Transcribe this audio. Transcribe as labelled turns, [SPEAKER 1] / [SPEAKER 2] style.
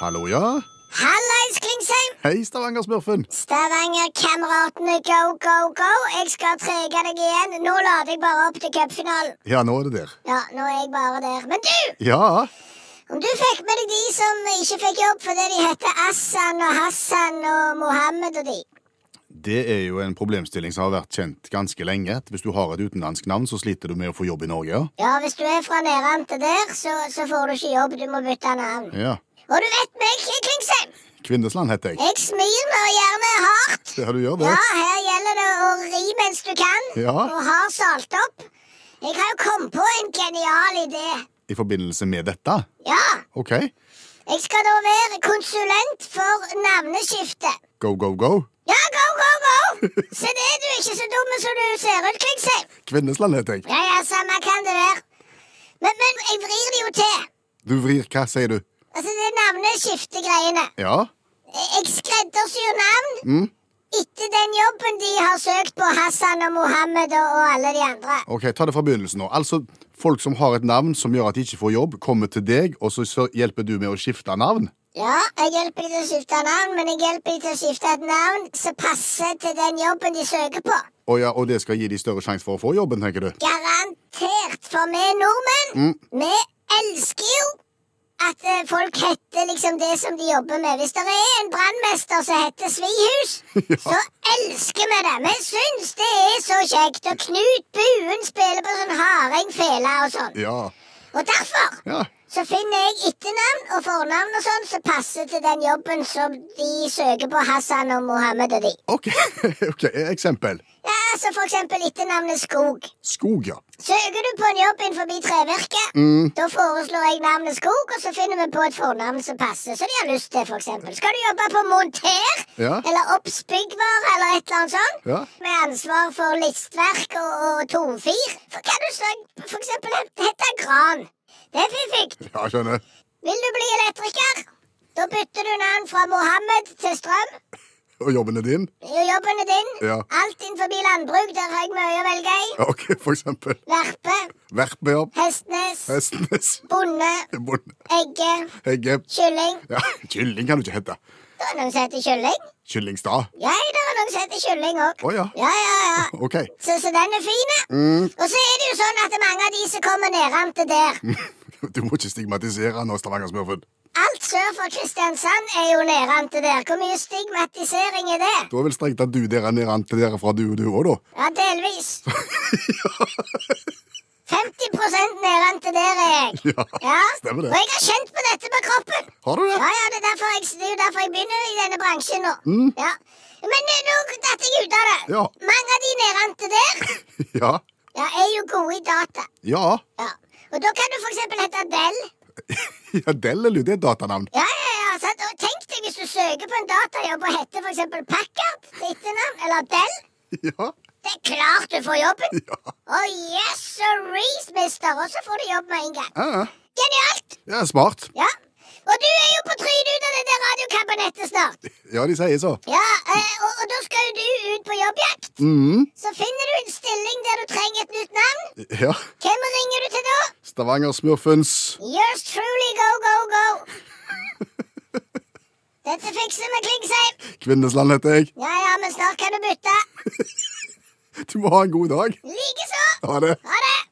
[SPEAKER 1] Hallo, ja?
[SPEAKER 2] Hallais, Klingsheim!
[SPEAKER 1] Hei, Stavanger-smurfen.
[SPEAKER 2] Stavanger-kameratene, go, go, go! Jeg skal trege deg igjen. Nå lader jeg bare opp til cupfinalen.
[SPEAKER 1] Ja, nå er det der.
[SPEAKER 2] Ja, nå er jeg bare der. Men du!
[SPEAKER 1] Ja,
[SPEAKER 2] Om du fikk med deg de som ikke fikk jobb fordi de heter Assan og Hassan og Mohammed og de.
[SPEAKER 1] det er jo en problemstilling som har vært kjent ganske lenge. at Hvis du har et utenlandsk navn, så sliter du med å få jobb i Norge,
[SPEAKER 2] Ja, hvis du er fra Nærante der, så, så får du ikke jobb. Du må bytte navn.
[SPEAKER 1] ja? Ja.
[SPEAKER 2] Og du vet meg, Klingsheim.
[SPEAKER 1] Kvindesland heter jeg.
[SPEAKER 2] Jeg smir meg gjerne hardt.
[SPEAKER 1] Ja, du gjør
[SPEAKER 2] Ja,
[SPEAKER 1] det.
[SPEAKER 2] her gjelder det å ri mens du kan,
[SPEAKER 1] Ja.
[SPEAKER 2] og har salt opp. Jeg har jo kommet på en genial idé.
[SPEAKER 1] I forbindelse med dette?
[SPEAKER 2] Ja,
[SPEAKER 1] OK.
[SPEAKER 2] jeg skal da være konsulent for navneskifte.
[SPEAKER 1] Go, go, go.
[SPEAKER 2] Ja, go, go, go! Se det, du er ikke så dum som du ser ut, Klingsheim.
[SPEAKER 1] Kvinnesland heter jeg.
[SPEAKER 2] Ja, ja, samme kan det være. Men, men jeg vrir det jo til.
[SPEAKER 1] Du vrir hva, sier du?
[SPEAKER 2] Altså, det navneskiftegreiene.
[SPEAKER 1] Ja?
[SPEAKER 2] Jeg jeg skreddersyr navn etter den jobben de har søkt på Hassan og Mohammed og, og alle de andre.
[SPEAKER 1] OK, ta det fra begynnelsen nå. Altså, folk som har et navn som gjør at de ikke får jobb, kommer til deg, og så- så hjelper du med å skifte navn?
[SPEAKER 2] Ja, jeg hjelper de til å skifte navn, men jeg hjelper de til å skifte et navn som passer til den jobben de søker på.
[SPEAKER 1] Og, ja, og det skal gi de større sjanse for å få jobben, tenker du?
[SPEAKER 2] Garantert, for vi nordmenn, vi elsker jo at eh, folk heter liksom det som de jobber med. Hvis det er en brannmester som heter Svihus, så elsker vi det. Vi syns det er så kjekt. Og Knut Buen spiller på sånn hardingfele og sånn.
[SPEAKER 1] Ja.
[SPEAKER 2] Og derfor
[SPEAKER 1] ja.
[SPEAKER 2] Så finner jeg etternavn og fornavn og sånn som passer til den jobben som de søker på Hassan og Mohammed og de.
[SPEAKER 1] OK. ok, Eksempel.
[SPEAKER 2] Ja, altså for eksempel etternavnet Skog.
[SPEAKER 1] Skog, ja. Mm,
[SPEAKER 2] Søker du på en jobb innenfor trevirket, da foreslår jeg navnet Skog, og så finner vi på et fornavn som passer, som de har lyst til, for eksempel. Skal du jobbe på monter,
[SPEAKER 1] Ja.
[SPEAKER 2] eller oppsbyggvare, eller et eller annet sånt,
[SPEAKER 1] Ja.
[SPEAKER 2] med ansvar for listverk og, og tomfir, for kan du så, for eksempel hete Gran. Det er fiffig.
[SPEAKER 1] Ja, skjønner.
[SPEAKER 2] Vil du bli elektriker? Da bytter du navn fra Mohammed til Strøm.
[SPEAKER 1] Og jobben er din?
[SPEAKER 2] Jo, Jobben er din.
[SPEAKER 1] Ja.
[SPEAKER 2] Alt innenfor landbruk, der har jeg mye å velge i.
[SPEAKER 1] Ja, OK, for eksempel.
[SPEAKER 2] Verpe,
[SPEAKER 1] Verpejobb.
[SPEAKER 2] Hestnes,
[SPEAKER 1] Hestenes.
[SPEAKER 2] Bonde,
[SPEAKER 1] Bonde.
[SPEAKER 2] Egge,
[SPEAKER 1] Egge.
[SPEAKER 2] Kylling.
[SPEAKER 1] Ja, kylling kan du ikke hete.
[SPEAKER 2] Det er noen som heter Kylling.
[SPEAKER 1] Kyllingstad.
[SPEAKER 2] Ja, det er noen som heter Kylling òg.
[SPEAKER 1] Å ja.
[SPEAKER 2] Ja, ja, ja.
[SPEAKER 1] OK.
[SPEAKER 2] Så, så den er fin. ja. Og så er det jo sånn at mange av de som kommer nedrante der
[SPEAKER 1] Mm. Du må ikke stigmatisere nå, Stavanger-smurfen.
[SPEAKER 2] Alt sør for Kristiansand er jo nedrante der. Hvor mye stigmatisering er det?
[SPEAKER 1] Da er vel strengt at du der er nede an til dere fra du og du òg, da.
[SPEAKER 2] Ja, delvis. 50 nedrente der er jeg.
[SPEAKER 1] Ja,
[SPEAKER 2] Ja.
[SPEAKER 1] stemmer det.
[SPEAKER 2] Og jeg har kjent på dette med kroppen.
[SPEAKER 1] Har du det?
[SPEAKER 2] Ja, ja, Det er derfor jeg, det er jo derfor jeg begynner i denne bransjen nå. Ja. Men eh, nå datt jeg ut av det.
[SPEAKER 1] Mm. Ja.
[SPEAKER 2] Mange av de nedrente der
[SPEAKER 1] Ja.
[SPEAKER 2] ja, er jo gode i data.
[SPEAKER 1] Ja.
[SPEAKER 2] Ja. Og da kan du f.eks. hete Dell.
[SPEAKER 1] ja Dellelyd, det er et datanavn.
[SPEAKER 2] Ja, ja, ja, sant? Og tenk deg hvis du søker på en datajobb og heter f.eks. Packard til etternavn, eller Dell.
[SPEAKER 1] Ja.
[SPEAKER 2] Det er klart du får jobben.
[SPEAKER 1] Ja.
[SPEAKER 2] Og yes, sorry, mister. Og så får du jobb med en gang.
[SPEAKER 1] Ja, ja.
[SPEAKER 2] Genialt!
[SPEAKER 1] ja smart.
[SPEAKER 2] Ja. Og du er jo på trynet ut av det der radiokabinettet snart.
[SPEAKER 1] Ja, de sier så.
[SPEAKER 2] Ja, eh, og, og da skal jo du ut på jobbjakt.
[SPEAKER 1] Mhm.
[SPEAKER 2] Så finner du en stilling der du trenger et nytt navn.
[SPEAKER 1] Ja.
[SPEAKER 2] Hvem ringer du til da?
[SPEAKER 1] Stavanger-smurfens
[SPEAKER 2] Yours truly, go, go, go. Dette fikser vi, Klingsheim.
[SPEAKER 1] Kvinnesland heter jeg.
[SPEAKER 2] Ja, ja, men snart kan du bytte.
[SPEAKER 1] Du må ha en god dag.
[SPEAKER 2] Likeså.
[SPEAKER 1] Ha det.
[SPEAKER 2] Ha det.